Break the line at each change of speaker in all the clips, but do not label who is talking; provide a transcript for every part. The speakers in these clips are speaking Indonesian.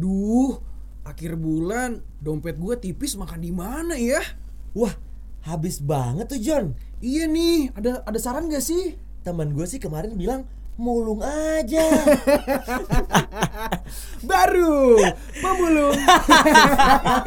Duh, akhir bulan dompet gue tipis makan di mana ya?
Wah, habis banget tuh John.
Iya nih, ada ada saran gak sih?
Teman gue sih kemarin bilang mulung aja.
Baru pemulung.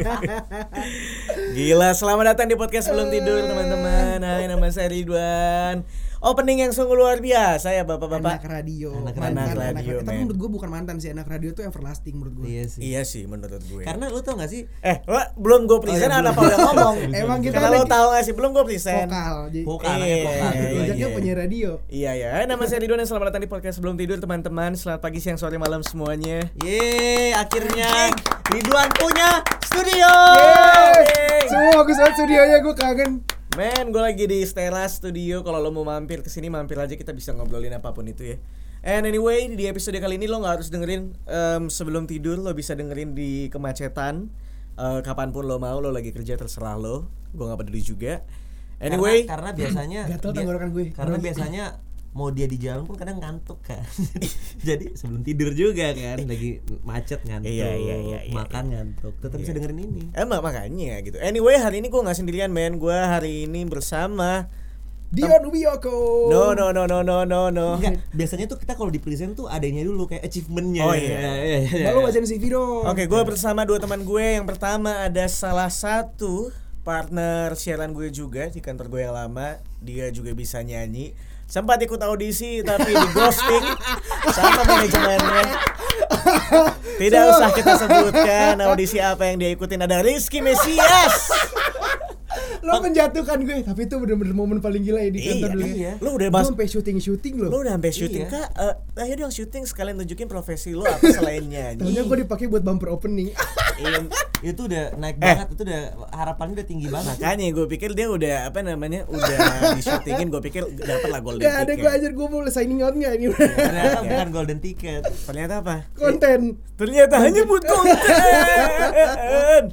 Gila, selamat datang di
Eh.
podcast belum tidur teman-teman. Hai, nama saya Ridwan. Opening yang sungguh luar biasa ya
anak
bapak-bapak.
radio.
Anak
mantan,
radio, men.
Tapi menurut gue bukan mantan sih, anak radio tuh everlasting menurut gue.
Iya sih.
Iya sih menurut gue.
Karena lu tau gak sih?
eh, lo belum gue present
iya,
atau apa
belum.
udah ngomong?
Emang kita
Karena lo
lagi-
tahu gak sih belum gue present.
Vokal. Jadi
Vokal,
Iya.
anaknya vokal.
Iya,
dua-duanya.
Jejaknya punya radio.
Iya ya, Hai, nama saya Ridwan dan selamat datang di podcast sebelum tidur teman-teman. Selamat pagi, siang, sore, malam semuanya.
Yeay, akhirnya Ridwan punya studio.
Oh, iya.
Yeay. Semua bagus banget studionya gue kangen.
Men, gue lagi di Stella Studio. Kalau lo mau mampir ke sini, mampir aja kita bisa ngobrolin apapun itu ya. And anyway, di episode kali ini lo nggak harus dengerin em, sebelum tidur, lo bisa dengerin di kemacetan. Eh, kapanpun lo mau, lo lagi kerja terserah lo. Gue nggak peduli juga. Anyway,
karena, karena biasanya
Gatel
bia-
tenggorokan gue.
Karena biasanya mau dia di jalan pun kadang ngantuk kan. Jadi sebelum tidur juga kan lagi macet ngantuk,
Iya, iya, iya, iya.
makan ngantuk, tetap bisa dengerin ini.
emang makanya gitu. Anyway, hari ini gue nggak sendirian, men. Gue hari ini bersama.
Dion Wiyoko.
No, no, no, no, no, no, no.
Enggak, Iya. biasanya tuh kita kalau di present tuh adanya dulu kayak achievementnya.
Oh, iya.
Nah, lo bacain CV dong.
Oke, gue bersama dua teman gue. Yang pertama ada salah satu partner siaran gue juga di kantor gue yang lama. Dia juga bisa nyanyi. Sempat ikut audisi tapi di ghosting sama manajemennya. Tidak usah kita sebutkan audisi apa yang dia ikutin ada Rizky Mesias.
Lo menjatuhkan gue, tapi itu bener-bener momen paling gila ya di
Iya,
kantor dulu.
iya.
Lo udah
Gue
mas
sampai syuting-syuting
lo
lo.
udah sampai syuting
Iya.
kak. Eh, ayo dong syuting sekalian tunjukin profesi lo apa selain
Ternyata
nyanyi.
gue dipakai buat bumper opening.
Iya, itu udah naik
Eh. Nah,
banget, itu udah harapannya udah tinggi banget.
Makanya gue pikir dia udah apa namanya udah di syutingin gue pikir dapat lah golden
Gak ada
ticket.
gue ajar gue mau signing out gak ini
iya.
Ternyata bukan golden ticket.
Ternyata apa?
konten.
Ternyata hanya butuh konten.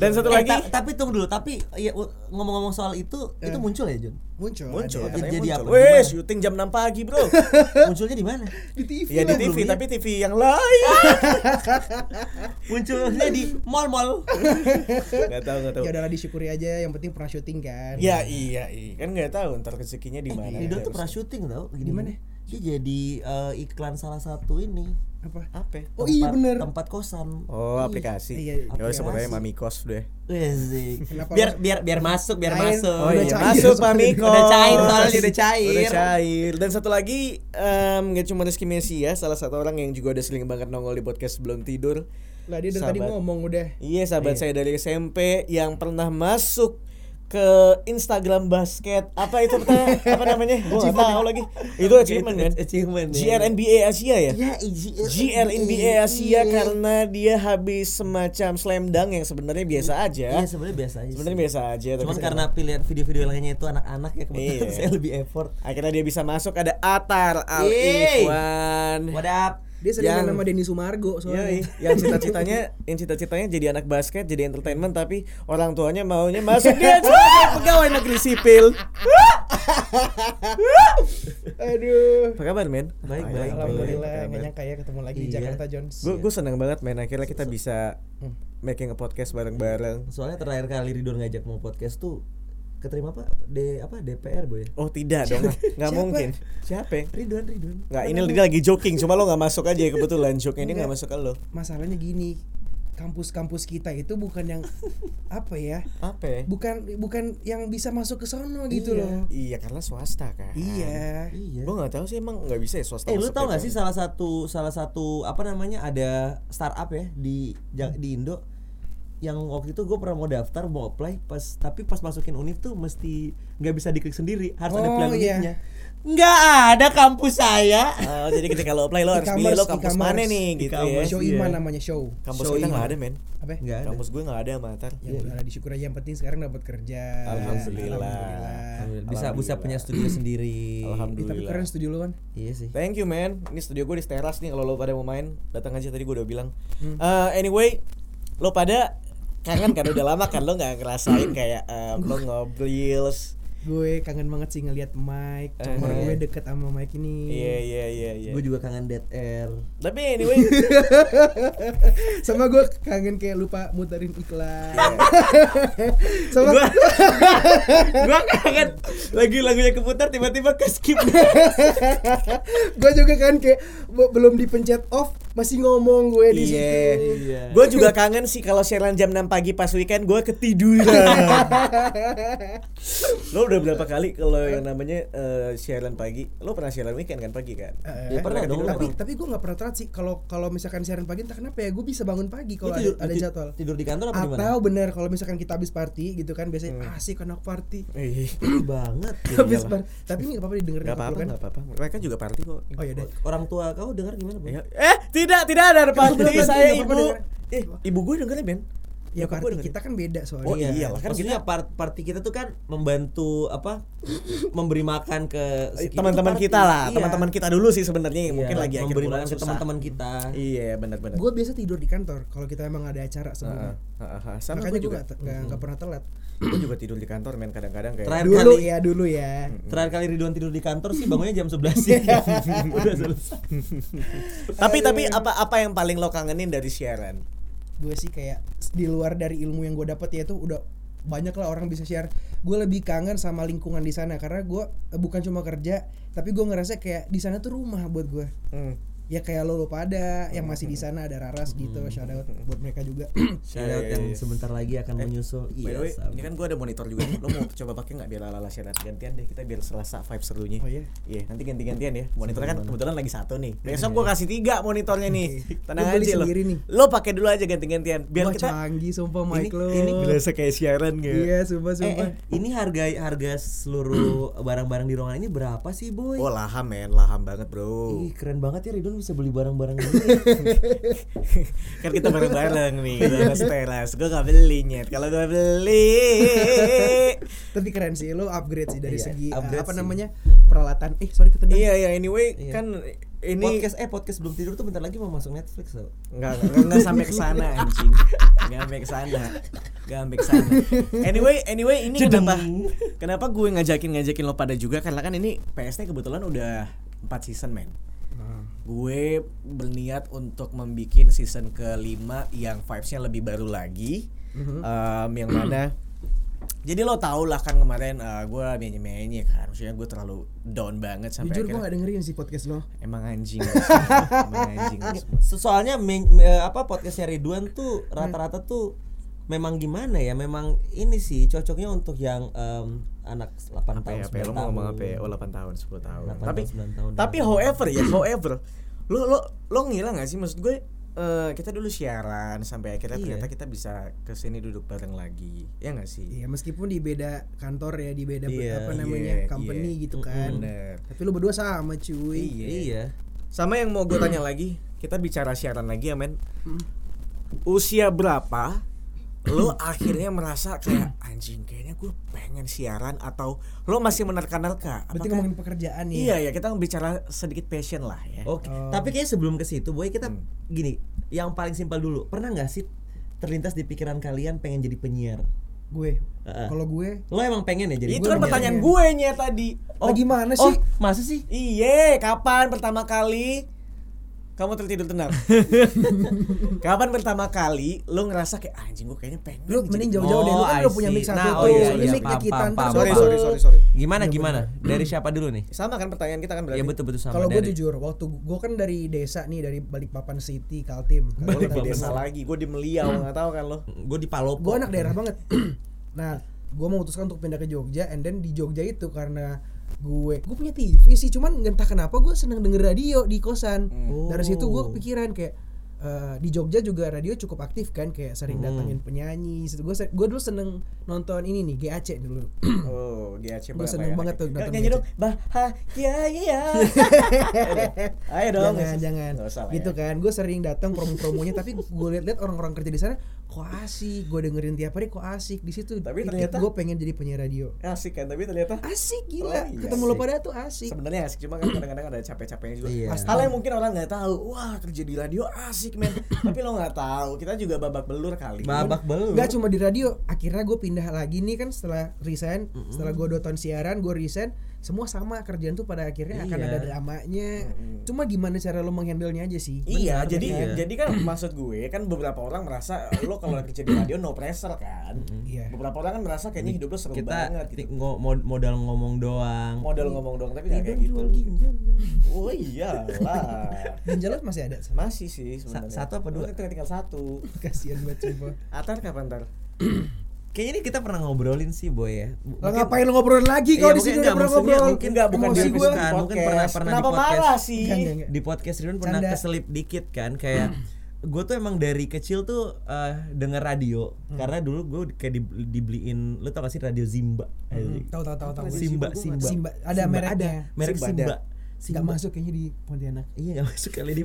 Dan satu
Eh,
lagi
ta- tapi tunggu dulu, tapi ya, u- ngomong-ngomong soal itu,
Eh.
itu muncul ya Jun?
Muncul.
muncul
ada.
katanya
Jadi
muncul.
apa?
Weh,
Gimana?
syuting jam 6 pagi, Bro.
Munculnya di mana?
di TV.
ya di
lah.
TV
belum
tapi TV yang lain.
Munculnya di mall-mall.
Enggak tahu, enggak tahu.
Ya udahlah disyukuri aja yang penting pernah syuting kan.
Ya iya, iya. Kan enggak tahu ntar rezekinya di
Ridwan
mana. kan
Eh, Nah, tuh pernah
harus-
syuting tau
Di mana?
Dia jadi eh, iklan salah satu ini
Apa?
ya?
apa?
Oh iya
tempat-
bener.
Tempat kosan
Oh, aplikasi.
Iya, iya.
Ya udah sebut aja
Aplikasi.
Mami Kos deh.
Wih,
Kenapa
Iya biar
lo-
biar biar masuk biar
Lain.
masuk
Oh
Udah
iya,
cair
masuk
soalnya.
Mami Kos.
Udah cair soalnya, udah cair.
Udah cair. Dan satu lagi em, nggak cuma Rizky Mesias, salah satu orang yang juga udah sering banget nongol di podcast sebelum tidur.
Lah dia dari tadi
Sahabat.
ngomong udah.
Iya sahabat saya dari SMP yang pernah masuk ke Instagram basket apa itu pertanyaan- apa namanya? Gue nggak tahu lagi. Itu achievement kan?
achievement ya.
GRNBA Asia ya?
ya IGL
GRNBA Asia karena dia habis semacam slam dunk yang sebenarnya biasa aja.
Iya sebenarnya biasa aja.
Sebenarnya biasa aja. Iya, tapi
Cuman karena pilihan video-video lainnya itu anak-anak ya kebetulan
Iya.
saya lebih effort.
akhirnya dia bisa masuk ada Atar Al
Yeay.
Ikhwan.
What up?
Dia sering main
Yang-
nama Denny Sumargo soalnya.
Yoi, yang cita-citanya yang cita-citanya jadi anak basket, jadi entertainment tapi orang tuanya maunya masuk dia sebagai pegawai negeri sipil.
Aduh.
Apa kabar, men?
Baik,
Apa
baik,
kabar?
Alhamdulillah
Apa
nggak
kabar?
nyangka ya ketemu lagi di
Iya.
Jakarta Jones.
Gue gue seneng banget, men. Akhirnya kita bisa making a podcast bareng-bareng.
Soalnya terakhir kali Ridwan ngajak mau podcast tuh keterima apa? D apa DPR boy?
Oh tidak dong, nggak mungkin. Siapa?
Ridwan Ridwan.
Nggak, ini dia lagi joking. Cuma lo nggak masuk aja ya kebetulan joke ini nggak masuk ke lo.
Masalahnya gini, kampus-kampus kita itu bukan yang apa ya?
Apa? ya?
Bukan bukan yang bisa masuk ke sono gitu
Iya.
loh.
Iya karena swasta kan.
Iya.
Iya.
Gue nggak tahu sih emang nggak bisa ya swasta.
Eh lu
masuk
tau gak
ya, Bang?
sih salah satu salah satu apa namanya ada startup ya di Ja- di Indo yang waktu itu gue pernah mau daftar mau apply pas tapi pas masukin univ tuh mesti nggak bisa diklik sendiri harus ada
Oh,
pilihan
iya.
univnya nggak ada kampus saya
Oh, jadi ketika lo apply lo harus
E-commerce,
pilih lo kampus
e-commerce.
mana nih gitu ya.
E-commerce.
Show
Iya.
Iman namanya show.
Kampus
Show
kita nggak
iman.
ada men.
Apa? Ya
nggak ada
Kampus gue nggak ada sama Atar.
udahlah disyukur aja yang penting sekarang dapat kerja.
Alhamdulillah.
Alhamdulillah. bisa bisa
Alhamdulillah.
punya studio sendiri
Ih, tapi
Alhamdulillah.
keren studio lo kan.
iya sih
Thank you man. Ini studio gue di teras nih kalau lo pada mau main datang aja tadi gue udah bilang. Eh, anyway, lo pada kangen kan udah lama kan lo nggak ngerasain kayak eh, lo ngobrol
gue kangen banget sih ngelihat Mike cuman
Eh.
gue deket sama Mike ini
Iya iya iya iya.
Gue juga kangen dead air.
Tapi anyway,
sama gue kangen kayak lupa muterin iklan sama
gua gua kangen lagi lagunya keputar tiba-tiba ke skip.
gue juga kan kayak be- belum dipencet off masih ngomong gue di situ Eh,
Iya.
Gue juga kangen sih kalau siaran jam 6 pagi pas weekend gue ketiduran. lo udah berapa kali kalau yang namanya eh, siaran pagi? Lo pernah siaran weekend kan pagi kan?
Eh,
Ya, pernah dong,
tapi
pernah.
tapi gue nggak pernah telat sih kalau kalau misalkan siaran pagi entah kenapa ya gue bisa bangun pagi kalau
Lu
ada,
tidur-
ada
ti-
jadwal
Tidur di kantor apa di mana?
atau bener kalau misalkan kita habis party gitu kan biasanya asik anak party
Ih,
banget.
habis
Iyalah.
par- tapi ini nggak apa-apa didengerin
Gak
sama
Iya, apa-apa,
lu kan
gak apa-apa. Mereka juga party kok.
oh ya deh
Orang tua kau dengar gimana, Bang?
Ya. Eh, tidak, tidak ada party.
Belum, belum,
saya
belum,
ibu.
belum,
Eh, ibu gue dengerin Ben.
ya
Nyokap
party
dengerin.
kita kan beda soalnya
Oh, iya. iyalah, kan
Maksudnya part party kita tuh kan membantu apa? memberi makan ke
Eh,
itu
teman-teman
party.
kita lah,
Iya.
teman-teman kita dulu sih sebenarnya yang
Iya,
mungkin lagi akhir
memberi
bulan
makan ke
susah.
teman-teman kita.
Iya, benar-benar.
gue biasa tidur di kantor kalau kita emang ada acara
Heeh,
sebelumnya
heeh, heeh. ah. Sama
makanya
gue
gue
juga.
nggak nggak pernah telat
Gue juga tidur di kantor men kadang-kadang kayak.
Terakhir
dulu
kali
ya dulu ya
Terakhir kali Ridwan tidur di kantor sih bangunnya jam 11 sih. Udah selesai.
tapi tapi apa apa yang paling lo kangenin dari siaran?
gue sih kayak s- di luar dari ilmu yang gue dapet ya itu udah banyak lah orang bisa share gue lebih kangen sama lingkungan di sana karena gue eh, bukan cuma kerja tapi gue ngerasa kayak di sana tuh rumah buat gue
Hmm.
ya kayak lo lo pada yang masih di sana ada Raras gitu shout out buat mereka juga
Shout out
Iya, iya,
yang
iya.
sebentar lagi akan menyusul.
By the
Iya,
way,
sama.
ini kan gue ada monitor juga. nih. Lo mau coba pakai nggak biar lala siaran gantian deh? Kita biar selasa vibe serunya.
Oh, iya?
nanti ganti-gantian ya. Monitornya kan kebetulan lagi satu nih. Besok gue kasih tiga monitornya nih. Tenang
Lo iya. beli
aja lo.
sendiri nih.
Lo pakai dulu aja ganti-gantian. Biar
Wah,
kita
canggih sumpah
ini
Mike lo
ini berasa kayak siaran nggak?
iya sumpah
Eh,
sumpah
eh, ini harga harga seluruh barang-barang di ruangan ini berapa sih, Boy?
Oh laham men, laham banget bro.
Iya.
Ih, keren banget ya Ridwan bisa beli barang-barang gini.
kan kita bareng-bareng
Iya.
nih teras teras gue gak beli nyet kalau gue beli
tapi keren sih lo upgrade sih dari
Iya,
segi eh,
upgrade
apa
sih.
namanya peralatan eh sorry ketendang
iya iya anyway
Iya.
kan ini
podcast eh podcast belum tidur tuh bentar lagi mau masuk Netflix loh.
nggak nggak- nggak sampai ke sana anjing nggak sampai ke sana nggak sampai ke sana anyway anyway ini
Jedeng.
kenapa kenapa gue ngajakin ngajakin lo pada juga karena kan ini PS-nya kebetulan udah 4 season men
Nah.
gue berniat untuk membuat season kelima yang vibesnya lebih baru lagi Em, yang mana jadi lo tau lah kan kemarin eh, gue menye menye kan maksudnya gue terlalu down banget sampai
jujur gue
akhirnya-
gak dengerin sih podcast lo
emang anjing lo semua. emang anjing lo semua.
So- Soalnya men- eh, apa podcastnya Ridwan tuh rata-rata tuh memang gimana ya? Memang ini sih cocoknya untuk yang em, anak 8
apa
tahun.
ya, apa ya,
9
lo mau ngomong
tahun.
apa ya? Oh 8 tahun, 10 tahun.
8
tapi
tahun, 9 tahun.
tapi however ya, however lo lo lo ngira gak sih maksud gue eh, kita dulu siaran sampai akhirnya
Iya.
ternyata kita bisa kesini duduk bareng lagi ya gak sih
Iya meskipun di beda kantor ya di beda ber-
Iya,
apa namanya
iya,
company
iya.
gitu kan.
Bener.
Tapi lu berdua sama cuy.
Iya.
Sama yang mau gue tanya lagi, kita bicara siaran lagi ya men. Usia berapa lo
Mm.
akhirnya merasa kayak anjing kayaknya gue pengen siaran atau lo masih menerka-nerka?
Berarti
Apakah-
ngomongin pekerjaan ya.
Iya ya kita bicara sedikit passion lah ya.
Oke.
Oh.
Tapi kayaknya sebelum ke situ, Boy, kita
Hmm.
gini, yang paling simpel dulu. Pernah nggak sih terlintas di pikiran kalian pengen jadi penyiar?
Gue.
Heeh.
Kalau gue
Lo emang pengen ya jadi gue
Itu
pengen.
kan pertanyaan gue nya tadi.
Oh, gimana
Oh,
sih?
masa sih?
Iya, kapan pertama kali kamu tertidur tenang? kapan pertama kali lo ngerasa kayak anjing gue kayaknya pengen
Lu
jadi
mending
penyiar."
jauh-jauh deh. Lu
Oh,
kan
I
udah punya
see.
mix satu
Nah,
tuh.
oh
Ini
iya, iya,
mic-nya
paham,
kita
paham,
ntar
paham.
Sorry,
gua-
sorry, sorry, sorry.
Gimana
Iya,
gimana? Dari siapa dulu nih?
Sama kan pertanyaan kita kan berarti.
Ya betul-betul sama
Kalau gue
dari-
jujur, waktu gue kan dari desa nih dari Balikpapan City, Kaltim. Kalau
Gue
lu
di
tadi
desa
desa.
lagi, gue di Meliau, nggak tahu kan lo.
Gue di
Gue
Palopo.
anak daerah banget. nah, gue memutuskan untuk pindah ke Jogja, and then di Jogja itu karena gue gue punya TV sih cuman entah kenapa gue seneng denger radio di kosan
Hmm.
dari situ gue
Oh.
kepikiran kayak eh, di Jogja juga radio cukup aktif kan kayak sering
Hmm.
datangin penyanyi gue gue dulu seneng nonton ini nih GAC dulu
Oh, GAC
Gua
banget.
seneng banget tuh nonton
Nyanyi
GAC.
dong, bahagia ya. Ayo dong.
jangan jangan
ya, Nggak usah lah
gitu
ya.
kan gue sering datang promo-promonya tapi gue liat-liat orang-orang kerja di sana kok asik gue dengerin tiap hari kok asik di situ
Tapi ternyata-
gue pengen jadi penyiar radio
Asik kan, tapi ternyata
asik
Oh,
gila
iya,
ketemu lo
asik.
pada tuh asik
sebenarnya asik cuma kan kadang-kadang ada capek-capeknya juga
Iya.
hal yang mungkin orang nggak tahu wah kerja di radio asik musik men tapi lo nggak tahu kita juga babak belur kali
babak belur
Gak cuma di radio, akhirnya gue pindah lagi nih kan setelah resign, setelah gue dua tahun siaran, gue resign, semua sama kerjaan tuh pada akhirnya akan
Iya.
ada dramanya. Cuma gimana cara lo menghandle nya aja sih?
Iya,
Benar,
jadi
benar.
jadi kan maksud gue kan beberapa orang merasa lo kalau kerja di radio no pressure kan.
Iya.
Beberapa orang kan merasa kayaknya hidup lo seru banget
kita
gitu.
ti- ngo- mod- modal ngomong doang Iya,
Modal ngomong doang tapi nggak kayak gitu. Oh iyalah.
Ginjal lo masih ada. Sam?
Masih sih sebenarnya.
Sa- satu apa dua?
Lo Tinggal, tinggal satu.
Kasihan banget coba.
Atar kapan tar?
kayaknya ini kita pernah ngobrolin sih boy ya Bu-
Lah
mungkin-
ngapain lo ngobrol lagi
Iya,
kalau di
mungkin
sini
enggak,
udah pernah
maksudnya
ngobrol?
Mungkin nggak bukan di
Emosi
episode
gue.
bukan.
podcast.
Mungkin pernah- pernah di
Kenapa
podcast.
marah sih?
Enggak, enggak, enggak.
di podcast Ridwan pernah
Iya. Canda.
keselip dikit kan kayak gue tuh emang dari kecil tuh eh, denger radio
Hmm.
karena dulu gue kayak di- dibeliin lu tau gak sih radio Zimba Eh,
Tahu tahu tahu tahu.
Iya Simba, Simba.
Simba. Ada mereknya.
Ada merek
Simba
Simba.
ada.
Gak masuk kayaknya di Pontianak.
Iya gak masuk kali di,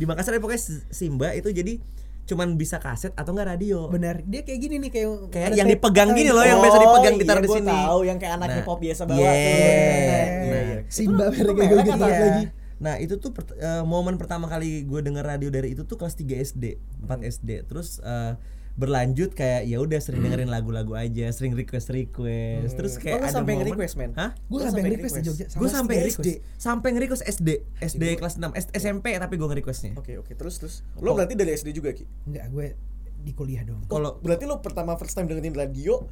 di Makassar ya, pokoknya S- Simba itu jadi cuman bisa kaset atau enggak radio.
Benar, dia kayak gini nih kayak
Oh. Kayak
ada
yang
tape.
dipegang gini
Oh,
loh ya. yang biasa dipegang ditaruh
iya,
di
gua
sini.
tahu yang kayak anak
Nah,
hip hop biasa bawa
yeah.
tuh. gitu kan,
Nah,
Iya. Simba
Itu
merek
merek
gue gitu
atau apa ya?
lagi.
lagi?
Nah, itu tuh pert- eh, momen pertama kali gue denger radio dari itu tuh kelas 3 SD, 4 SD. Terus eh, berlanjut kayak ya udah sering dengerin lagu-lagu aja, sering request request. Terus
Oh, Hmm. lu
kayak ada
sampai
momen-
nge-request, men?
Hah?
Gue
Gua
sampai
sampai
request di
request.
Jogja.
Gue sampai
SD.
nge-request. Sampai nge-request SD, SD kelas 6, S- SMP tapi gue nge-requestnya.
Oke oke terus terus. Lo berarti dari SD juga ki?
Enggak, gue di kuliah dong.
Kalau
Berarti lo pertama first time dengerin radio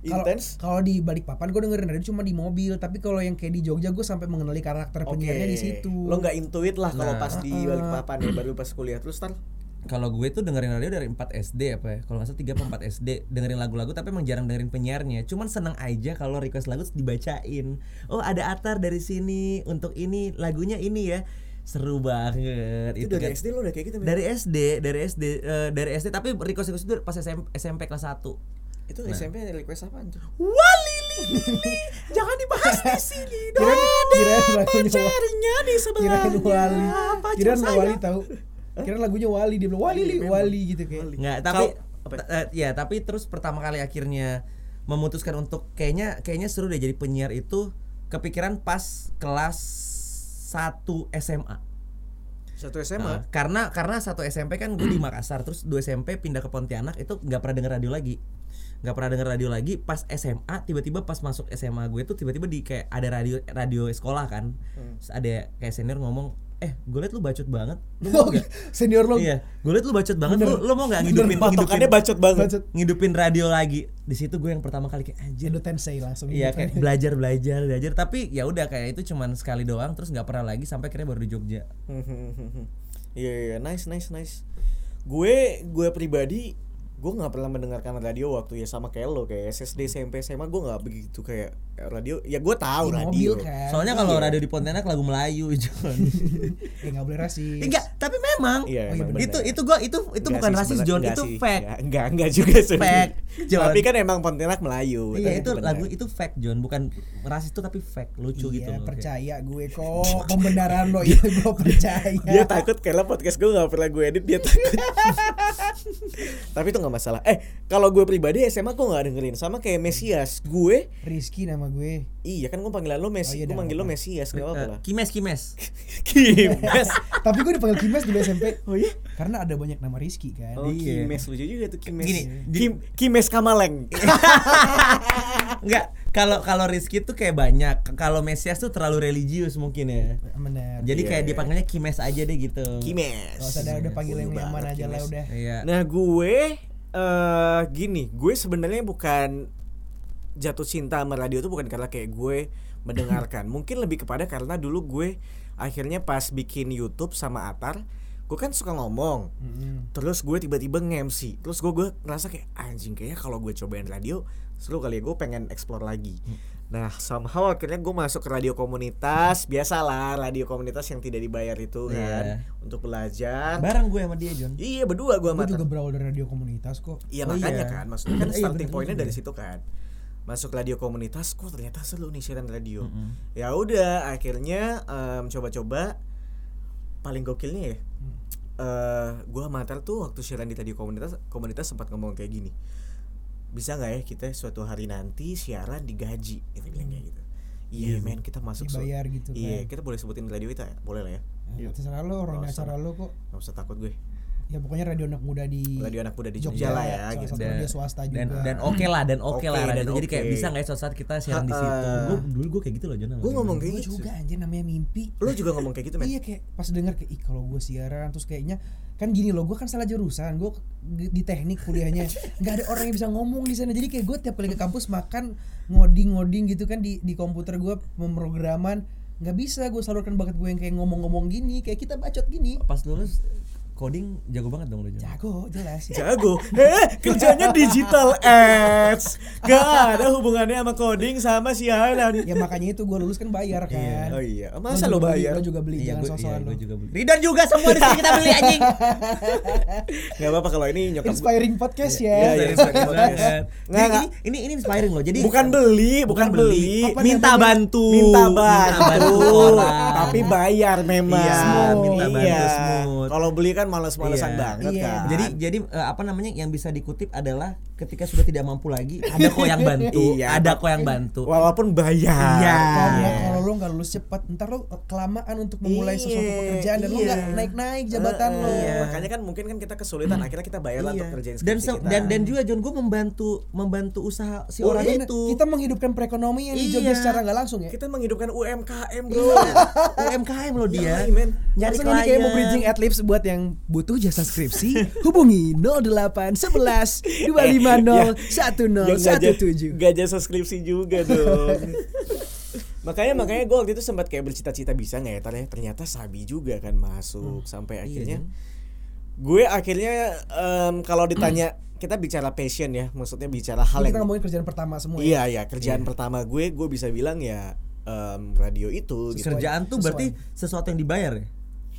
Kalau-
intens
Kalau di balik papan gue dengerin radio cuma di mobil, tapi kalau yang kayak di Jogja gue sampai mengenali karakter penyiarnya di situ.
Lo nggak intuit lah kalau
Nah.
pas
Ah.
di balik papan ya baru pas kuliah terus tar.
kalau gue tuh dengerin radio dari 4 SD apa ya kalau nggak salah 3 apa 4 SD dengerin lagu-lagu tapi emang jarang dengerin penyiarnya cuman seneng aja kalau request lagu terus dibacain oh ada Atar dari sini untuk ini lagunya ini ya seru banget itu,
Itu dari
kan.
SD lo udah kayak gitu. men?
dari SD dari SD eh, dari SD tapi request request itu pas SMP, SMP kelas 1
itu
Nah.
SMP request apaan tuh?
Wah Lili, Lili, jangan dibahas di sini.
Kirain- kirain lagunya Wali.
di
Kirain wali.
Pacar
Kirain
saya. Iya,
wali tahu. Kirain lagunya wali dia bilang wali li, wali gitu kayak.
Nggak, tapi
Kau- apa ya?
t- eh, ya tapi terus pertama kali akhirnya memutuskan untuk kayaknya kayaknya seru deh jadi penyiar itu kepikiran pas kelas 1 SMA.
Satu
Nah,
SMA.
karena karena satu SMP kan gue di Makassar terus dua SMP pindah ke Pontianak itu nggak pernah denger radio lagi nggak pernah denger radio lagi pas SMA tiba-tiba pas masuk SMA gue tuh tiba-tiba di kayak ada radio radio sekolah kan
Hmm.
Terus ada kayak senior ngomong eh gue liat lu bacot banget lu mau nggak
Senior lo.
iya gue liat lu bacot banget lu, lu mau nggak ngidupin
Patokannya bacot banget.
Bacot.
ngidupin radio lagi di situ gue yang pertama kali kayak anjir
Indo Tensei langsung.
Iya
gitu.
kayak belajar belajar belajar tapi ya udah kayak itu cuman sekali doang terus nggak pernah lagi sampai akhirnya baru di Jogja
Iya iya nice nice nice. Gue gue pribadi gue nggak pernah mendengarkan radio waktu ya sama kayak lo kayak SSD SMP SMA gue nggak begitu kayak radio ya gue tahu
Di mobil
radio
kan.
soalnya
Iya.
kalau radio di Pontianak lagu Melayu John
ya enggak boleh rasis.
enggak tapi memang gitu.
Iya, emang bener.
itu itu gua itu itu bukan rasis John itu fact
Enggak, enggak, juga sih.
Fact, John.
Tapi kan emang Pontianak Melayu.
iya
tapi
itu
bener.
lagu itu fact John bukan rasis itu tapi fact lucu gitu
Iya,
loh.
percaya gue kok pembenaran lo itu gue percaya.
Dia takut karena podcast gue gak pernah gue edit dia takut. Tapi itu gak masalah. Eh, kalau gue pribadi SMA gue gak dengerin sama kayak Mesias. Gue
Rizky nama gue.
iya kan gue panggilan lo
Oh,
Mesias.
iya, dah,
gue manggil lo
apa-apa.
Mesias, gak apa-apa
Eh,
lah.
kimes kimes
Kimes.
Tapi gue dipanggil Kimes dulu SMP.
Oh iya.
Karena ada banyak nama Rizky kan.
Oh,
Iya.
Kimes lucu juga tuh Kimes.
Gini,
Kim- Kimes Kamaleng. Eh,
enggak kalau kalau Rizky tuh kayak banyak kalau Mesias tuh terlalu religius mungkin ya
Bener.
jadi
Iya,
kayak
iya.
dipanggilnya kimes aja deh gitu
Kimes.
Gak usah dah, udah panggil yang
Lucu
nyaman
banget,
aja lah
Kimes.
udah.
iya
Nah gue eh gini, gue sebenarnya bukan jatuh cinta sama radio itu bukan karena kayak gue mendengarkan, mungkin lebih kepada karena dulu gue akhirnya pas bikin YouTube sama Atar, gue kan suka ngomong,
Mm-mm.
terus gue tiba-tiba nge-MC, terus gue gue ngerasa kayak anjing kayaknya kalau gue cobain radio seru kali ya gue pengen explore lagi. Nah, somehow akhirnya gue masuk ke radio komunitas, biasalah radio komunitas yang tidak dibayar itu
Iya.
kan, untuk belajar.
bareng gue sama dia John
iya berdua gue sama
Gue
Atar.
juga berawal dari radio komunitas kok.
Iya
Oh,
makanya
iya.
kan maksudnya kan
Iya,
starting
bener-bener
pointnya dari
juga.
situ kan masuk radio komunitas kok ternyata seru nih siaran radio
Mm.
ya udah akhirnya em, coba-coba paling gokilnya ya
Hmm.
eh gua sama Atar tuh waktu siaran di radio komunitas komunitas sempat ngomong kayak gini bisa nggak ya kita suatu hari nanti siaran digaji kita bilang kayak gitu iya men kita masuk Iya, su-
Hmm. Dibayar gitu kan. Nah,
iya kita boleh sebutin radio kita ya? boleh lah ya
Terserah lo orang
Nggak usah.
acara lo kok.
nggak usah takut gue
ya pokoknya radio anak muda di
Radio Anak Muda di Jogja lah ya,
Iya. salah
gitu.
satu radio swasta juga
dan dan oke lah dan oke
Oke,
lah
dan
radio itu. jadi kayak
oke.
bisa nggak ya suatu saat kita siaran di
Ha-ha.
situ gue dulu gue kayak gitu loh Jonah
Gue ngomong
gue
kayak gitu.
juga anjir namanya mimpi
Lu juga ngomong kayak gitu, men.
Iya kayak pas dengar kayak ih kalau gue siaran terus kayaknya kan gini loh gue kan salah jurusan gue di teknik kuliahnya nggak ada orang yang bisa ngomong di sana jadi kayak gue tiap kali ke kampus makan ngoding-ngoding gitu kan di di komputer gue pemrograman nggak bisa gue salurkan bakat gue yang kayak ngomong-ngomong gini kayak kita bacot gini
pas lulus coding jago banget dong lo Jonah
jago jelas
Jago. Eh, kerjanya digital ads. Gak ada hubungannya sama coding sama siaran.
ya makanya itu gue lulus kan bayar kan
Oh iya, masa lo bayar?
lo juga beli jangan
Iya, gua-
sosokan
iya,
lo
gua juga beli.
Ridan juga semua di sini kita beli anjing. Gak apa-apa kalau ini nyokap gua-
inspiring podcast
Iya,
ya
iya.
Serius banget.
Nggak,
Ini-
nggak.
ini, ini ini inspiring loh. Jadi kan?
bukan beli,
Bukan
bukan beli,
beli. Apa Minta
namanya?
bantu.
minta
Minta bantu
bantu,
orang.
tapi bayar memang.
Iya,
Smooth.
minta bantu
Iya.
smooth.
Kalau beli kan malas-malasan
Iya.
banget
Iya.
kan.
jadi jadi eh, apa namanya yang bisa dikutip adalah ketika sudah tidak mampu lagi ada kok yang bantu,
Iya.
ada kok yang bantu.
walaupun bayar.
Iya.
Karena kalau lo nggak lulus cepat, ntar lo kelamaan untuk memulai sesuatu
Iya,
pekerjaan dan lo
iya.
nggak naik-naik jabatan
Heeh,
lo.
iya. Makanya kan mungkin kan kita kesulitan akhirnya kita bayar lah untuk kerjain
Hmm. Iya. Dan
skripsi
se-
kita.
dan dan juga John gue membantu membantu usaha si
Oh,
orang
iya,
itu.
kita menghidupkan perekonomian di Jogja
Iya.
secara nggak langsung ya.
kita menghidupkan UMKM bro.
UMKM loh dia.
Iya, men.
Iya. Nyari
Langsung ini kayak mau bridging
klien.
ad libs buat yang butuh jasa skripsi, hubungi 08 11
Eh, ya.
Ya, 250 1017.
Gak jasa skripsi juga dong. makanya makanya gue waktu itu sempat kayak bercita-cita bisa nggak ya Tar, ya? ternyata sabi juga kan
Hmm.
masuk
Iya
sampai akhirnya
Jon.
gue akhirnya em, kalau ditanya kita bicara passion ya maksudnya bicara hal
Kita
yang
ngomongin kerjaan pertama semua. ya.
Iya ya kerjaan pertama gue gue bisa bilang ya em, radio itu gitu.
Kerjaan
Sesuai.
tuh berarti sesuatu yang dibayar ya?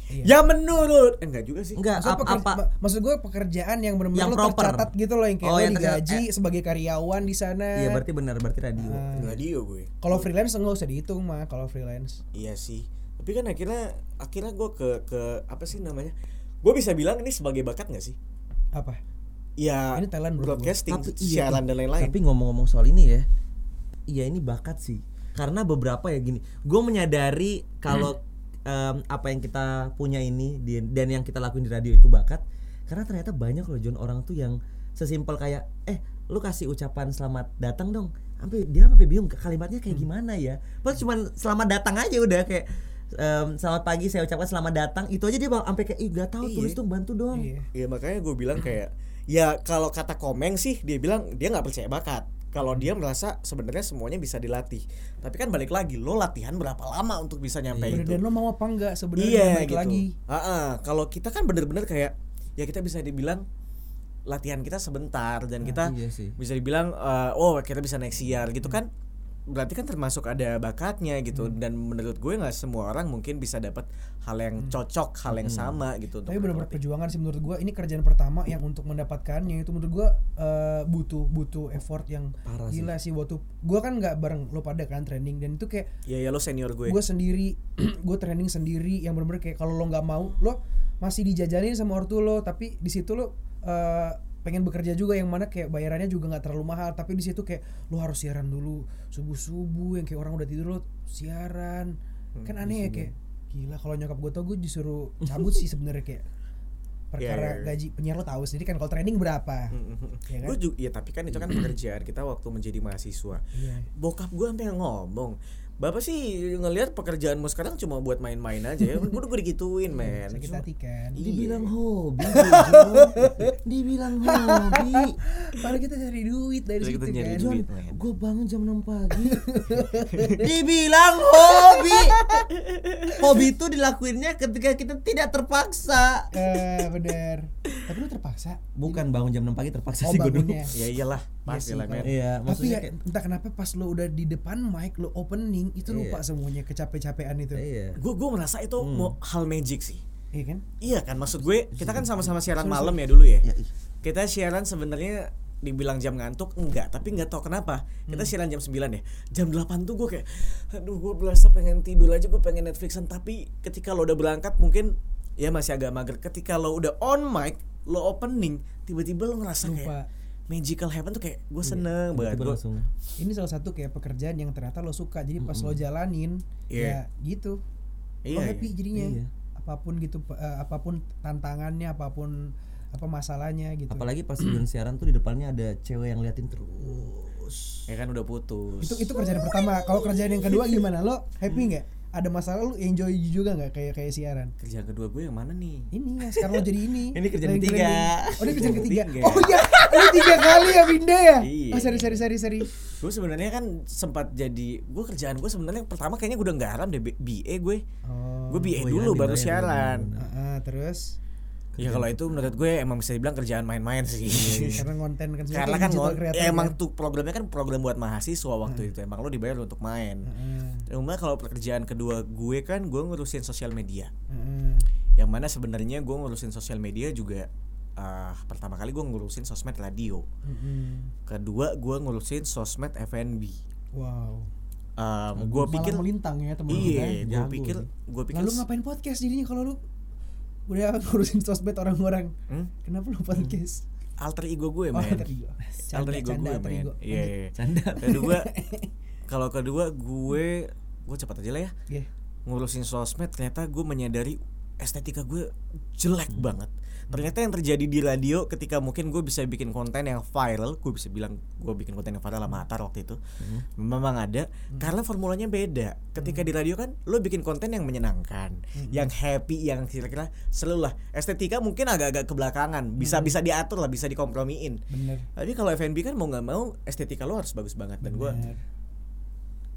iya.
Ya menurut eh, enggak juga sih.
Enggak,
Maksud,
apa, apa
Nah, maksud gue pekerjaan yang
Yang
benar-benar lo
proper.
tercatat gitu loh yang kayak lo
Oh, yang tercatat.
digaji sebagai karyawan di sana.
Iya berarti benar berarti radio.
Radio gue.
Kalau freelance nggak usah dihitung mah kalau freelance.
Iya sih. Tapi kan akhirnya akhirnya gue ke ke apa sih namanya? Gue bisa bilang ini sebagai bakat nggak sih?
Apa?
Ya
Ini talent menurut
broadcasting,
Tapi iya,
siaran
eh,
dan lain-lain.
Tapi ngomong-ngomong soal ini ya, iya ini bakat sih. Karena beberapa ya gini, gue menyadari kalau em, apa yang kita punya ini di- dan yang kita lakuin di radio itu bakat. Karena ternyata banyak loh John orang tuh yang sesimpel kayak, eh lu kasih ucapan selamat datang dong. Sampai dia sampai bingung kalimatnya kayak gimana ya. Pas cuman selamat datang aja udah kayak em, selamat pagi saya ucapkan selamat datang itu aja dia sampai kayak ih gak tahu
Iya.
tulis dong bantu dong
Iya.
Ya makanya gue bilang kayak ya kalau kata Komeng sih dia bilang dia nggak percaya bakat. Kalau dia merasa sebenarnya semuanya bisa dilatih. Tapi kan balik lagi lo latihan berapa lama untuk bisa nyampe
Bener,
itu?
dan lo mau apa enggak sebenarnya
Iya
balik
gitu.
lagi.
Ah, ah. kalau kita kan bener-bener kayak ya kita bisa dibilang latihan kita sebentar dan kita
iya sih.
bisa dibilang eh, oh kita bisa naik siar gitu kan berarti kan termasuk ada bakatnya gitu
Hmm.
dan menurut gue nggak semua orang mungkin bisa dapat hal yang cocok hal yang sama gitu
Hmm. Tapi
untuk
benar-benar
berlatih.
perjuangan sih menurut gua ini kerjaan pertama yang untuk mendapatkannya itu menurut gua eh, butuh butuh effort yang
Parah sih.
gila sih. waktu gua kan nggak bareng lo pada kan training dan itu kayak
ya ya lo senior gue
gue sendiri gue training sendiri yang bener-bener kayak kalau lo nggak mau lo masih dijajanin sama ortu lo tapi di situ lo eh, pengen bekerja juga yang mana kayak bayarannya juga nggak terlalu mahal tapi di situ kayak lo harus siaran dulu subuh subuh yang kayak orang udah tidur lo siaran
Hmm,
kan aneh ya kayak gila kalau nyokap gue tau gue disuruh cabut sih sebenarnya kayak
Iya, iya,
perkara
iya.
gaji penyiar lo tahu sendiri kan kalau training berapa
Hmm,
ya kan
gue juga ya tapi kan itu kan pekerjaan kita waktu menjadi mahasiswa
Iya.
bokap gue sampai ngomong bapak sih ngelihat pekerjaanmu sekarang cuma buat main-main aja ya gue gue digituin men
sakit hati kan
Iya.
Dibilang hobi, John. dibilang hobi.
padahal kita cari duit dari
Terus
situ
kita nyari
kan
John,
Duit, men.
gue bangun jam 6 pagi. dibilang hobi. Hobi itu dilakuinnya ketika kita tidak terpaksa.
eh bener tapi lo terpaksa
Bukan bangun jam 6 pagi
Oh
terpaksa sih gue dulu.
bangunnya.
ya iyalah pasti lah men
Iya,
Tapi
maksudnya
ya, entah kenapa pas lo udah di depan mic lo opening itu
Iya.
lupa semuanya kecape-capean itu.
kayak- iya.
gue gue merasa itu
Hmm.
mau hal magic sih
Iya kan?
iya kan maksud gue kita kan sama-sama siaran malam ya dulu ya
Iya.
Ya, ih.
kita siaran sebenarnya dibilang jam ngantuk enggak tapi nggak tahu kenapa kita siaran jam 9 ya jam 8 tuh gue kayak aduh gue berasa pengen tidur aja gue pengen Netflixan tapi ketika lo udah berangkat mungkin ya masih agak mager ketika lo udah on mic lo opening tiba-tiba lo ngerasa kayak
Lupa.
magical heaven tuh kayak gue seneng banget
Tiba-tiba
Gua-
langsung.
Ini salah satu kayak pekerjaan yang ternyata lo suka. Jadi pas lo jalanin
Iya.
ya gitu.
Iya,
lo happy
iya.
jadinya.
Iya.
Apa apapun gitu pe- eh, apapun tantangannya apapun apa masalalnya gitu
Apalagi pas sebelum siaran tuh di depannya ada cewek yang liatin terus.
ya kan udah putus
itu itu kerjaan pertama kalau kerjaan yang kedua gimana lo happy nggak ada masalah lu enjoy juga nggak kayak kayak siaran
kerjaan kedua gue yang mana nih
ini ya sekarang lo jadi ini
Ini kerjaan
Trending,
ketiga.
trending. oh ini kerjaan ketiga
Ketiga.
oh iya ini tiga kali ya pindah ya
Iya.
oh sorry sorry sorry sorry
gue sebenarnya kan sempat jadi gue kerjaan gue sebenarnya yang pertama kayaknya udah nggak haram deh B- BA gue
oh
gue BA
Oh iya,
dulu baru
dibayar,
siaran
bener-bener.
ah, ah, terus
ya kalau itu menurut gue emang bisa dibilang kerjaan main-main sih
Iya, karena konten kan sebenarnya
Iya. karena kan
digital
ngon-
creator
ya
kan.
emang tuh programnya kan program buat mahasiswa
Hmm.
waktu itu emang lo dibayar untuk main
Heeh,
cuma kalau pekerjaan kedua gue kan gue ngurusin sosial media
heeh.
yang mana sebenarnya gue ngurusin sosial media juga ah, pertama kali gue ngurusin sosmed radio
Mm-mm.
kedua gue ngurusin sosmed FNB
Wow.
um, gue
Malah
pikir
melintang ya teman
iya gue
jago
pikir
nih.
gue pikir
Lalu ngapain podcast jadinya kalau lu udah ngurusin sosmed orang-orang?
Hmm?
Kenapa lu podcast?
alter ego gue
Oh,
Hmm. Iya, men
alter ego.
alter ego
Canda,
gue
alter
men
ego.
iya iya, iya.
Canda.
kedua kalau kedua gue gue cepat aja lah ya
Iya.
ngurusin sosmed ternyata gue menyadari estetika gue jelek banget ternyata yang terjadi di radio ketika mungkin gue bisa bikin konten yang viral gue bisa bilang gue bikin konten yang viral sama Atar waktu itu memang ada karena formulanya beda ketika di radio kan lo bikin konten yang menyenangkan yang happy yang kira-kira selalu lah estetika mungkin agak-agak kebelakangan bisa bisa diatur lah bisa dikompromiin
Bener.
tapi kalau FNB kan mau nggak mau estetika lo harus bagus banget dan gue
Bener.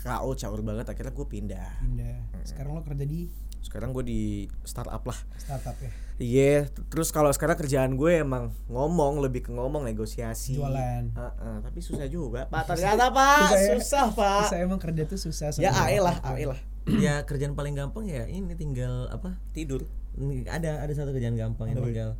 KO caur banget akhirnya gue pindah
Indah. Sekarang lo kerja di
sekarang gue di startup lah
startup ya.
Iya, t- terus kalau sekarang kerjaan gue emang ngomong lebih ke ngomong negosiasi.
Jualan.
Heeh, tapi susah juga, Pak. Ternyata Pak,
Susah ya?
susah Pak.
Saya emang kerja tuh susah.
Ah. Ya
sebenarnya.
AE lah, AE lah.
ya kerjaan paling gampang ya ini tinggal apa?
Tidur.
Ini Ada ada satu kerjaan gampang yang tinggal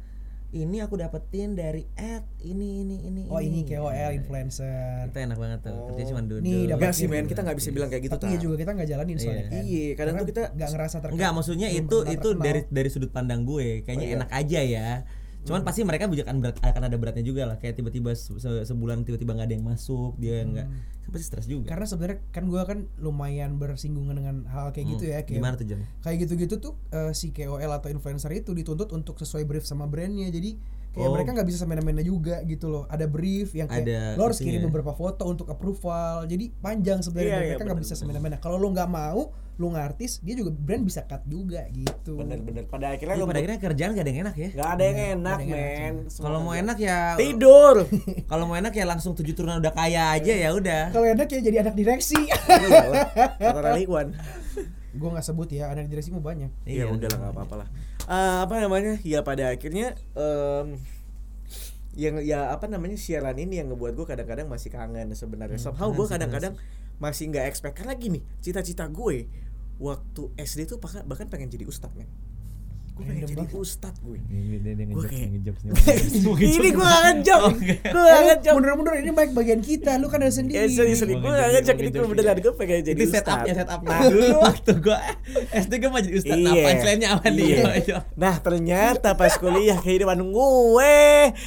ini aku dapetin dari ad ini ini ini
Oh ini
Nah,
KOL influencer.
Itu enak banget tuh. Kerja cuma duduk. Iya,
Nih, dapat
Enggak sih, men. Kita nggak bisa bilang kayak gitu,
ya, Tapi ya
Tam.
juga kita nggak jalanin soalnya kan.
Iya, kadang
Karena
tuh kita-
nggak ngerasa terkenal.
Enggak, maksudnya
belum
itu
pernah
itu
terkenal. Oh, iya.
dari dari sudut pandang gue, kayaknya enak aja ya.
Hmm.
Cuman pasti mereka juga akan berat, akan ada beratnya juga lah. Kayak tiba-tiba se- se- sebulan tiba-tiba nggak ada yang masuk, dia nggak kan pasti stres juga.
Hmm. karena sebenarnya kan gua kan lumayan bersinggungan dengan hal
Hmm.
kayak gitu ya kayak
Hmm. Gimana tuh John?
kayak gitu-gitu tuh eh, si KOL atau influencer itu dituntut untuk sesuai brief sama brandnya jadi kayak
Oh.
mereka nggak bisa semena-mena juga gitu loh ada brief yang kayak
Ada
lo harus
itunya. ya."
kirim beberapa foto untuk approval jadi panjang
Iya,
sebenarnya
iya,
mereka nggak bisa semena-mena kalau lo nggak mau lo ngartis dia juga brand bisa cut juga gitu
Bener-bener. Pada akhirnya
Tapi
lo
pada akhirnya kerjaan gak ada yang enak ya.
nggak ada yang enak, men.
Kalau mau
Iya.
enak ya
tidur.
kalau mau enak ya langsung tujuh turunan udah kaya aja ya udah.
kalau enak ya jadi anak direksi
Iyalah, Iya, Kata Raliwan.
gue nggak sebut ya anak direksi mau banyak
Iya, udah lah nggak apa-apa lah. Eh, apa namanya? Ya pada akhirnya em, yang ya apa namanya siaran ini yang ngebuat gue kadang-kadang masih Hmm, kangen sebenarnya. Somehow gue kadang-kadang masih nggak expect karena gini, cita-cita gue waktu SD tuh bahkan, bahkan pengen jadi ustadz men. Gue pengen jadi ustadz gue. Gue kayak ini gue gak ngejok, ya? Oh, gue gak ngejok.
mundur-mundur ini baik bagian kita lu kan ada sendiri
Ya sorry sorry, gue gak ngejok ya, ini gue beneran gue pengen jadi
Itu
ustadz.
setupnya setupnya ya,
Nah,
dulu waktu gue SD gue mau jadi ustad nah
Iya.
punchline-nya apa nih?
Iya. Nah ternyata pas kuliah kehidupan gue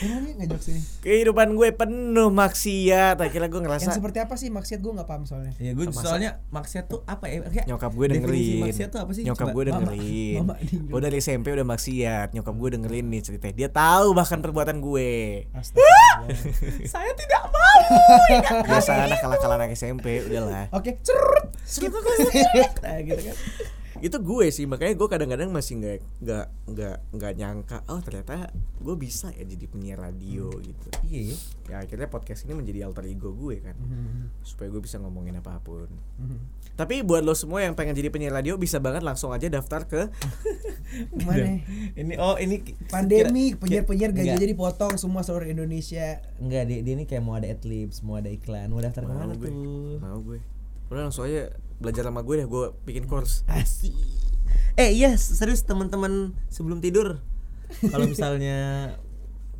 Emangnya ngajak sini
kehidupan gue penuh maksiat akhirnya gue ngerasa
yang seperti apa sih maksiat gue nggak paham soalnya
Ya gue soalnya maksiat tuh apa ya? Kayak
nyokap gue
definisi
dengerin
Maksiat tuh apa sih?
nyokap
Coba.
gue
Mama-
dengerin
Mama dengerin.
gue dari SMP udah maksiat nyokap gue dengerin nih ceritanya dia tahu bahkan perbuatan gue
Astagfirullah.
Saya tidak mau.
biasa anak kalah kalah anak SMP udahlah
Oke, cerut.
nah, gitu kan itu gue sih makanya gue kadang-kadang masih nggak nggak nggak nggak nyangka oh ternyata gue bisa ya jadi penyiar radio gitu
Iya, iya.
ya akhirnya podcast ini menjadi alter ego gue kan
Hmm.
Hmm.
supaya gue bisa ngomongin apapun tapi buat lo semua yang pengen jadi penyiar radio bisa banget langsung aja daftar ke
Mana?
Ini oh ini ki-
Pandemi,
kira-
penyiar-penyiar gaji
Enggak.
jadi potong semua seluruh Indonesia.
Enggak, dia, dia ini kayak mau ada adlibs, mau ada iklan, mau daftar
Mau
kemana
gue.
Hmm.
tuh?
Mau gue. Udah langsung aja belajar sama gue deh, gue
Hmm.
bikin course.
Asik. Eh iya serius teman-teman sebelum tidur kalau misalnya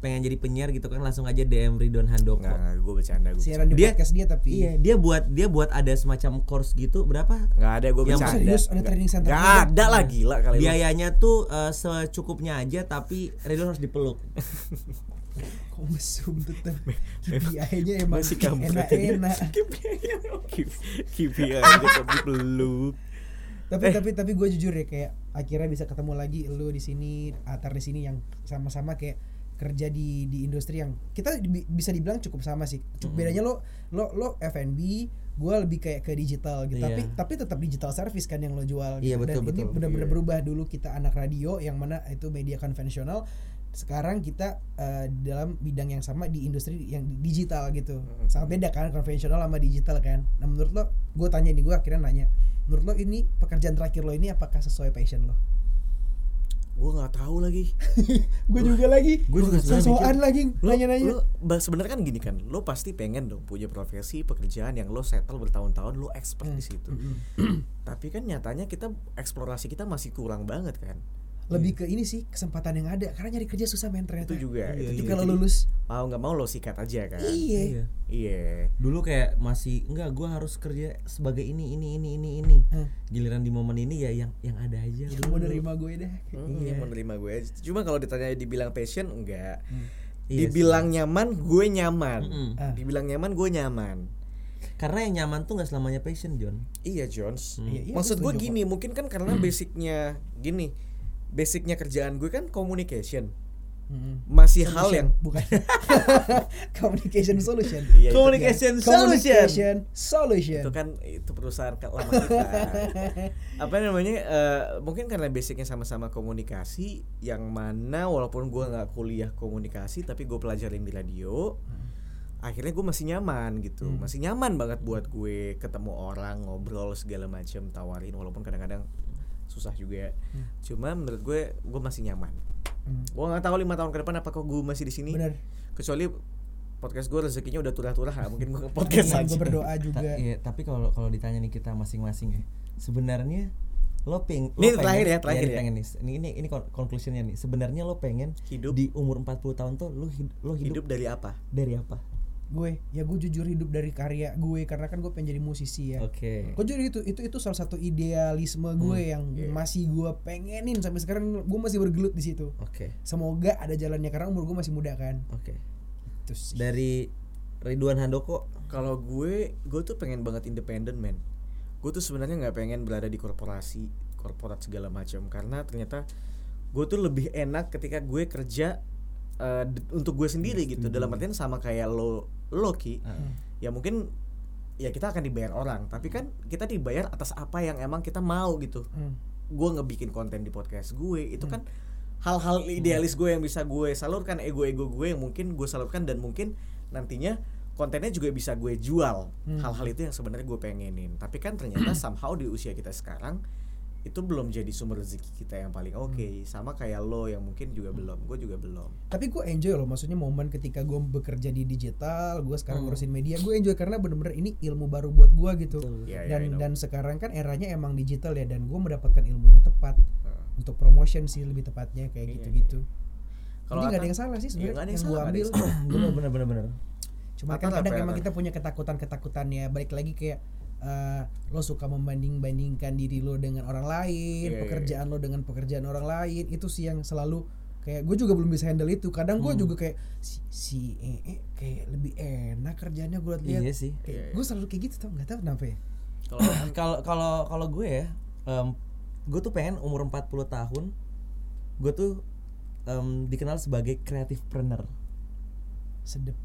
pengen jadi penyiar gitu kan langsung aja DM Ridwan Handoko.
Enggak, enggak, gue bercanda gue.
Siaran di
Dia-
podcast dia tapi.
Iya, dia buat dia buat ada semacam course gitu berapa?
Enggak ada, gue
Yang
bercanda.
serius, ada
Nggak-
training center Iya,
nggak
juga.
ada lah gila kali lu.
Biayanya tuh eh, secukupnya aja tapi Ridwan harus dipeluk.
Kok mesum tetep. KPI-nya emang
Masih kampret
enak-enak.
Kipi aja kok dipeluk.
tapi
Eh.
tapi tapi gue jujur ya kayak akhirnya bisa ketemu lagi lu di sini Atar di sini yang sama-sama kayak kerja di di industri yang kita di- bisa dibilang cukup sama sih
Hmm.
cukup bedanya lo lo lo F&B gue lebih kayak ke digital gitu tapi
Iya.
tapi tetap digital service kan yang lo jual gitu.
Iya, betul,
dan ini
betul.
benar-benar
Iya.
berubah dulu kita anak radio yang mana itu media konvensional sekarang kita eh, dalam bidang yang sama di industri yang di- digital gitu sama beda kan konvensional sama digital kan nah menurut lo gue tanya nih gue akhirnya nanya menurut lo ini pekerjaan terakhir lo ini apakah sesuai passion lo
gue nggak tahu lagi
gue juga lagi
Gua juga sebenarnya
sosokan
mikir,
lagi
lo,
nanya-nanya
lo ba- sebenarnya kan gini kan lo pasti pengen dong punya profesi pekerjaan yang lo settle bertahun-tahun lo expert di situ tapi kan nyatanya kita eksplorasi kita masih kurang banget kan
lebih ke ini sih kesempatan yang ada karena nyari kerja susah men ternyata
itu juga
Iya,
itu
Tapi
juga.
kalau
Jadi,
lulus
mau nggak mau lo sikat aja kan
iya
Iya.
iya
Dulu kayak masih enggak gua harus kerja sebagai ini ini ini ini ini.
Hah.
Giliran di momen ini ya yang yang ada aja.
Hmm. yang
dulu.
mau nerima gue deh
Hmm, yang menerima gue aja. cuma kalau ditanya dibilang passion enggak
Iya
dibilang nyaman gue nyaman
Mm-mm.
Mm. Ah.
dibilang nyaman gue nyaman
Karena yang nyaman tuh nggak selamanya passion, John.
iya Jones
Iya, iya,
maksud
gua
gue
setuju
gini mungkin kan karena basicnya gini basicnya kerjaan gue kan communication
kok. Mm-mm.
masih hal
Solution,
yang
bukan communication solution
Iya, itu dia.
Communication solution.
Communication solution.
itu kan itu perusahaan ke- lama kita apa namanya eh, mungkin karena basicnya sama-sama komunikasi yang mana walaupun gua nggak kuliah komunikasi tapi gue pelajarin di radio akhirnya gue masih nyaman gitu
Hmm.
masih nyaman banget buat gue ketemu orang ngobrol segala macam tawarin walaupun kadang-kadang susah juga ya.
Hmm.
cuma menurut gue gue masih nyaman
Hmm.
gue nggak tahu lima tahun ke depan apakah gue masih di sini
Bener.
kecuali podcast gue rezekinya udah turah-turah nggak mungkin gue ke podcast
Iya,
aja
gua berdoa juga.
Ta- iya, tapi kalau kalau ditanya nih kita masing-masing ya. Sebenarnya lo peng lo
Ini
pengen-
terakhir ya,
iya,
terakhir
ini
ya.
pengen nih. Ini ini ini kon- conclusionnya nih. Sebenarnya lo pengen
Hidup.
di umur 40 tahun tuh lo hid- lo
hidup
hidup,
dari apa
dari apa?
Gue ya gue jujur hidup dari karya gue karena kan gue pengen jadi musisi ya.
Oke.
Gue jujur itu itu itu salah satu idealisme gue yang
iya.
masih gue pengenin sampai sekarang gue masih bergelut di situ.
Oke.
Semoga ada jalannya karena umur gue masih muda kan.
Oke.
Itu sih.
Dari Ridwan Handoko.
Kalau gue, gue tuh pengen banget independen, men. Gue tuh sebenarnya nggak pengen berada di korporasi, korporat segala macam. Karena ternyata gue tuh lebih enak ketika gue kerja eh, d- untuk gue sendiri gitu. Dalam artian sama kayak lo, lo ki.
Ah. Hmm.
Ya mungkin ya kita akan dibayar orang, tapi kan kita dibayar atas apa yang emang kita mau gitu.
Hmm.
Gue ngebikin konten di podcast gue itu kan hal-hal
Hmm.
idealis gue yang bisa gue salurkan ego-ego gue yang mungkin gue salurkan dan mungkin nantinya kontennya juga bisa gue jual
Hmm.
hal-hal itu yang sebenarnya gue pengenin tapi kan ternyata somehow di usia kita sekarang itu belum jadi sumber rezeki kita yang paling oke
Hmm.
sama kayak lo yang mungkin juga belum gue juga belum
tapi gue enjoy loh maksudnya momen ketika gue bekerja di digital gue
Hmm.
sekarang ngurusin media gue enjoy karena bener-bener ini ilmu baru buat gue gitu
Betul.
Iya, iya, I
dan
know.
dan sekarang kan eranya emang digital ya dan gue mendapatkan ilmu yang tepat untuk promotion sih lebih tepatnya
Iya,
kayak gitu-gitu
Kalau
ini nggak ada
Atta-
yang salah sih
Iya,
sebenarnya
nggak ada
yang, gue
yang salah, nggak ada
ambil
yang
bener bener bener bener.
cuma
Atta
kan kadang
apa ya,
emang
Atta?
kita punya ketakutan ketakutannya balik lagi kayak eh, lo suka membanding bandingkan diri lo dengan orang lain
Iya, iya,
pekerjaan lo dengan pekerjaan orang lain itu sih yang selalu kayak gue juga belum bisa handle itu kadang gue juga kayak si si eh, eh, kayak lebih enak kerjaannya gue lihat
Iya sih.
gue selalu kayak gitu tau nggak tau kenapa ya
kalau
kalau kalau kalau gue ya em, gue tuh pengen umur 40 tahun gue tuh em, dikenal sebagai creative planner
sedep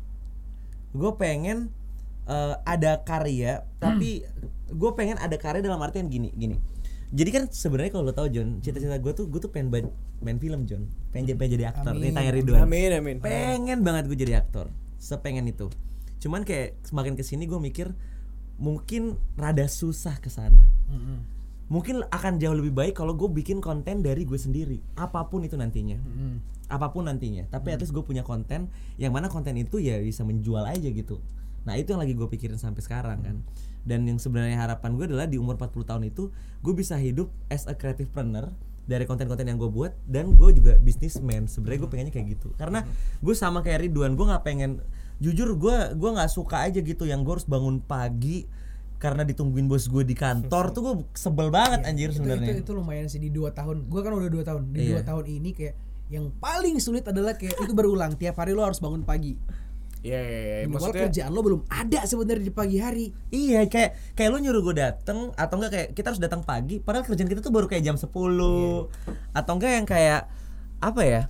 gue pengen eh, ada karya tapi gue pengen ada karya dalam artian gini gini jadi kan sebenarnya kalau lo tau John cita-cita gue tuh gue tuh pengen ba- main film John pengen jadi pengen jadi aktor nih
Amin.
tanya Ridwan
amin amin
pengen banget gue jadi aktor sepengen itu cuman kayak semakin kesini gue mikir mungkin rada susah kesana
Mm-mm.
mungkin akan jauh lebih baik kalau gue bikin konten dari gue sendiri apapun itu nantinya
Mm-mm.
apapun nantinya tapi
Hmm.
at least gue punya konten yang mana konten itu ya bisa menjual aja gitu nah itu yang lagi gue pikirin sampai sekarang kan dan yang sebenarnya harapan gue adalah di umur 40 tahun itu gue bisa hidup as a creative planner dari konten-konten yang gue buat dan gue juga businessman sebenarnya
Hmm.
gue pengennya kayak gitu karena gue sama kayak Ridwan gue nggak pengen jujur gue gue nggak suka aja gitu yang gue harus bangun pagi karena ditungguin bos gue di kantor tuh gue sebel banget
Iya, itu,
anjir
itu
sebenarnya
itu lumayan sih di dua tahun gue kan udah dua tahun di
Iya.
dua tahun ini kayak yang paling sulit adalah kayak itu berulang tiap hari lo harus bangun pagi
Iya, iya, iya.
Minimal
Maksudnya
kerjaan lo belum ada sebenarnya di pagi hari.
Iya kayak kayak lu nyuruh gue dateng atau enggak kayak kita harus datang pagi padahal kerjaan kita tuh baru kayak jam 10 atau enggak yang kayak apa ya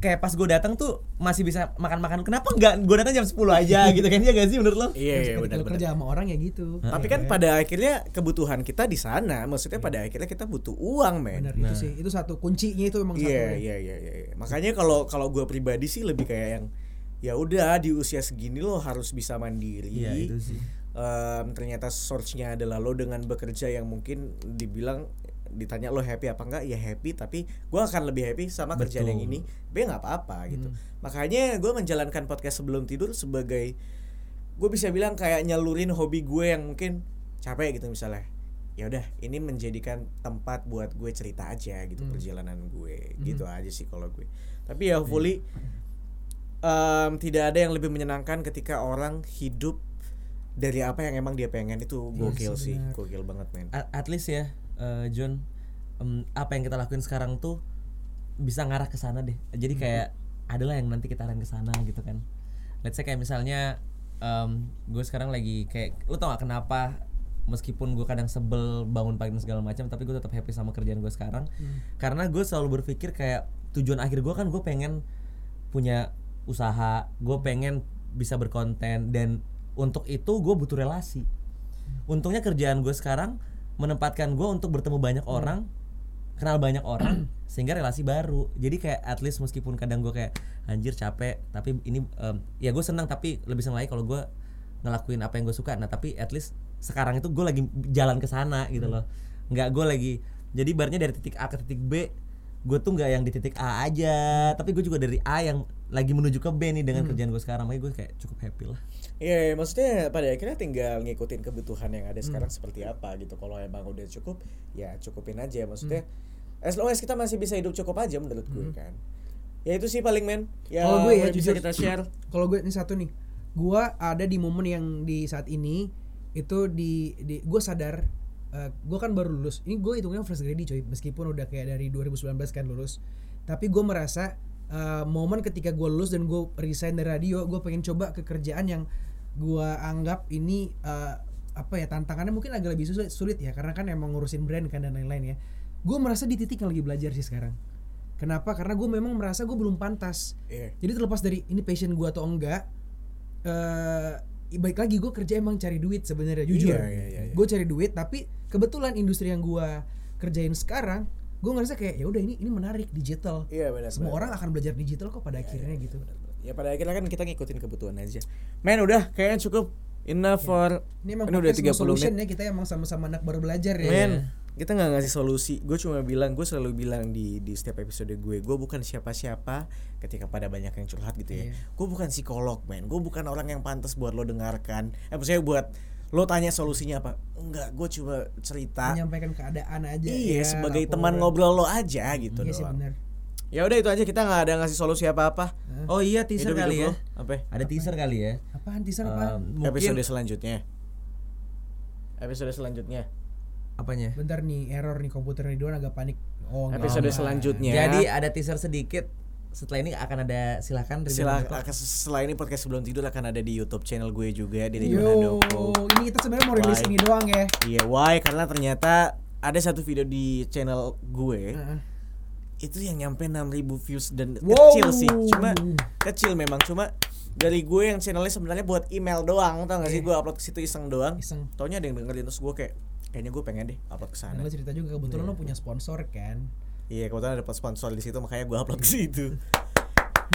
kayak pas gue datang tuh masih bisa makan-makan kenapa enggak gue datang jam 10 aja gitu kayaknya gak sih menurut lo?
Iya, iya,
Ketika
benar
lo kerja
benar.
sama orang ya gitu.
Tapi kan pada akhirnya kebutuhan kita di sana, maksudnya pada akhirnya kita butuh uang, men.
Benar itu
Nah.
sih. Itu satu kuncinya itu memang satu. ya.
Iya iya iya iya. iya. Makanya kalau kalau gue pribadi sih lebih kayak yang ya udah di usia segini lo harus bisa mandiri.
Iya, itu sih.
Em, ternyata source-nya adalah lo dengan bekerja yang mungkin dibilang ditanya lo happy apa enggak ya happy tapi gue akan lebih happy sama kerjaan yang ini tapi nggak apa-apa gitu makanya gue menjalankan podcast sebelum tidur sebagai gue bisa bilang kayak nyalurin hobi gue yang mungkin capek gitu misalnya ya udah ini menjadikan tempat buat gue cerita aja gitu perjalanan gue gitu aja sih kalau gue tapi ya fully em, tidak ada yang lebih menyenangkan ketika orang hidup dari apa yang emang dia pengen itu gokil sih gokil banget men
A- at least ya eh, John em, apa yang kita lakuin sekarang tuh bisa ngarah ke sana deh jadi kayak adalah yang nanti kita arahin ke sana gitu kan let's say kayak misalnya gue sekarang lagi kayak lu tau gak kenapa meskipun gue kadang sebel bangun pagi dan segala macam tapi gue tetap happy sama kerjaan gue sekarang karena gue selalu berpikir kayak tujuan akhir gue kan gue pengen punya usaha gue pengen bisa berkonten dan untuk itu gue butuh relasi untungnya kerjaan gue sekarang menempatkan gue untuk bertemu banyak orang kenal banyak orang sehingga relasi baru jadi kayak at least meskipun kadang gue kayak anjir capek tapi ini em, ya gue senang tapi lebih senang lagi kalau gue ngelakuin apa yang gue suka nah tapi at least sekarang itu gue lagi jalan ke sana gitu loh nggak gue lagi jadi barnya dari titik A ke titik B gue tuh nggak yang di titik A aja tapi gue juga dari A yang lagi menuju ke B nih dengan kerjaan gue sekarang makanya gue kayak cukup happy lah
Iya, iya, maksudnya pada akhirnya tinggal ngikutin kebutuhan yang ada
Hmm.
sekarang seperti apa gitu. Kalau emang udah cukup, ya cukupin aja.
Hmm.
Maksudnya, as long as kita masih bisa hidup cukup aja menurut gue kan. Ya itu sih paling men. Ya,
Hmm. Kalau gue ya
yang bisa
jujur-
kita share.
Kalau gue ini satu nih. Gue ada di momen yang di saat ini itu di, di gue sadar gue kan baru lulus. Ini gue hitungnya fresh graduate coy. Meskipun udah kayak dari 2019 kan lulus. Tapi gue merasa eh, momen ketika gue lulus dan gue resign dari radio, gue pengen coba ke kerjaan yang gue anggap ini eh, apa ya tantangannya mungkin agak lebih sulit, sulit ya karena kan emang ngurusin brand kan dan lain-lain ya. Gue merasa di titik yang lagi belajar sih sekarang. Kenapa? Karena gue memang merasa gue belum pantas.
Iya.
Jadi terlepas dari ini passion gue atau enggak, eh baik lagi gue kerja emang cari duit sebenarnya jujur.
Iya, iya, iya, iya.
Gue cari duit tapi kebetulan industri yang gue kerjain sekarang, gue ngerasa kayak ya udah ini ini menarik digital.
Iya benar.
Semua
benar. Iya,
orang akan belajar digital kok pada akhirnya gitu.
Ya pada akhirnya kan kita ngikutin kebutuhan aja. Men udah kayaknya cukup enough for
Iya. Ini emang
udah
podcast no
30
solution
menit.
ya kita emang sama-sama anak baru belajar ya.
Men, Iya. kita nggak ngasih solusi. Gue cuma bilang, gue selalu bilang di di setiap episode gue, gue bukan siapa-siapa. Ketika pada banyak yang curhat gitu
Iya.
ya, gue bukan psikolog, men. Gue bukan orang yang pantas buat lo dengarkan. Eh, maksudnya buat lo tanya solusinya apa? Enggak, gue cuma cerita.
Menyampaikan keadaan aja.
Iya,
ya,
sebagai
laporan.
teman ngobrol lo aja gitu
Iya sih
doang.
benar.
Ya udah itu aja kita nggak ada ngasih solusi apa-apa.
oh iya teaser
Hidup-hidup
kali
lo,
ya
Apa? ya?
ada teaser kali ya
Apaan teaser
Eh,
apaan?
mungkin
Episode selanjutnya.
Oh,
Episode selanjutnya.
apanya
Bentar nih error nih komputer Ridwan agak panik. Oh, enggak.
Episode selanjutnya.
Ya.
Jadi ada teaser sedikit. Setelah ini akan ada silakan Ridwan menutup.
Silahkan setelah ini podcast sebelum tidur akan ada di YouTube channel gue juga di Ridwan
Yo,
Handoko.
ini kita sebenarnya mau rilis
Why?
ini doang ya.
Iya, why? Karena ternyata ada satu video di channel gue
Iya.
itu yang nyampe 6000 views dan
Ah. Wow.
kecil sih. Cuma kecil memang cuma dari gue yang channelnya sebenarnya buat email doang, tau gak sih? Gue upload ke situ iseng doang.
Iya. Iseng.
Taunya ada yang dengerin terus gue kayak kayaknya gue pengen deh upload ke sana.
Dan lo cerita juga kebetulan
Iya.
lo punya sponsor kan.
Iya, kebetulan ada sponsor di situ makanya gue upload ke situ.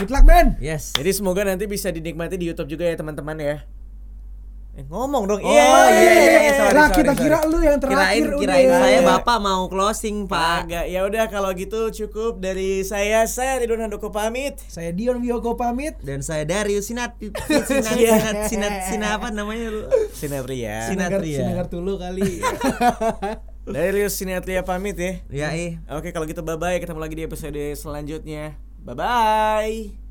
Good luck man.
Yes.
Jadi semoga nanti bisa dinikmati di YouTube juga ya teman-teman ya. Eh, ngomong dong.
Oh, iya, iya, iya, sorry,
Lah,
sorry,
kita
sorry.
kira lu yang terakhir
Kirain kirain
udah. Iya.
saya Bapak mau closing, Pak.
Agak ya udah kalau gitu cukup dari saya saya Ridwan Handoko pamit.
Saya Dion Wiyoko pamit.
Dan saya Darius Sinat Sinat Sinat Sinat, Sinat, Sinat apa namanya lu?
Sinatria.
Sin- Sinatria.
Sinagar dulu kali.
ya. dari Rius Sinatria pamit ya.
Ya, ih.
Oke kalau gitu bye bye ketemu lagi di episode selanjutnya. Bye bye.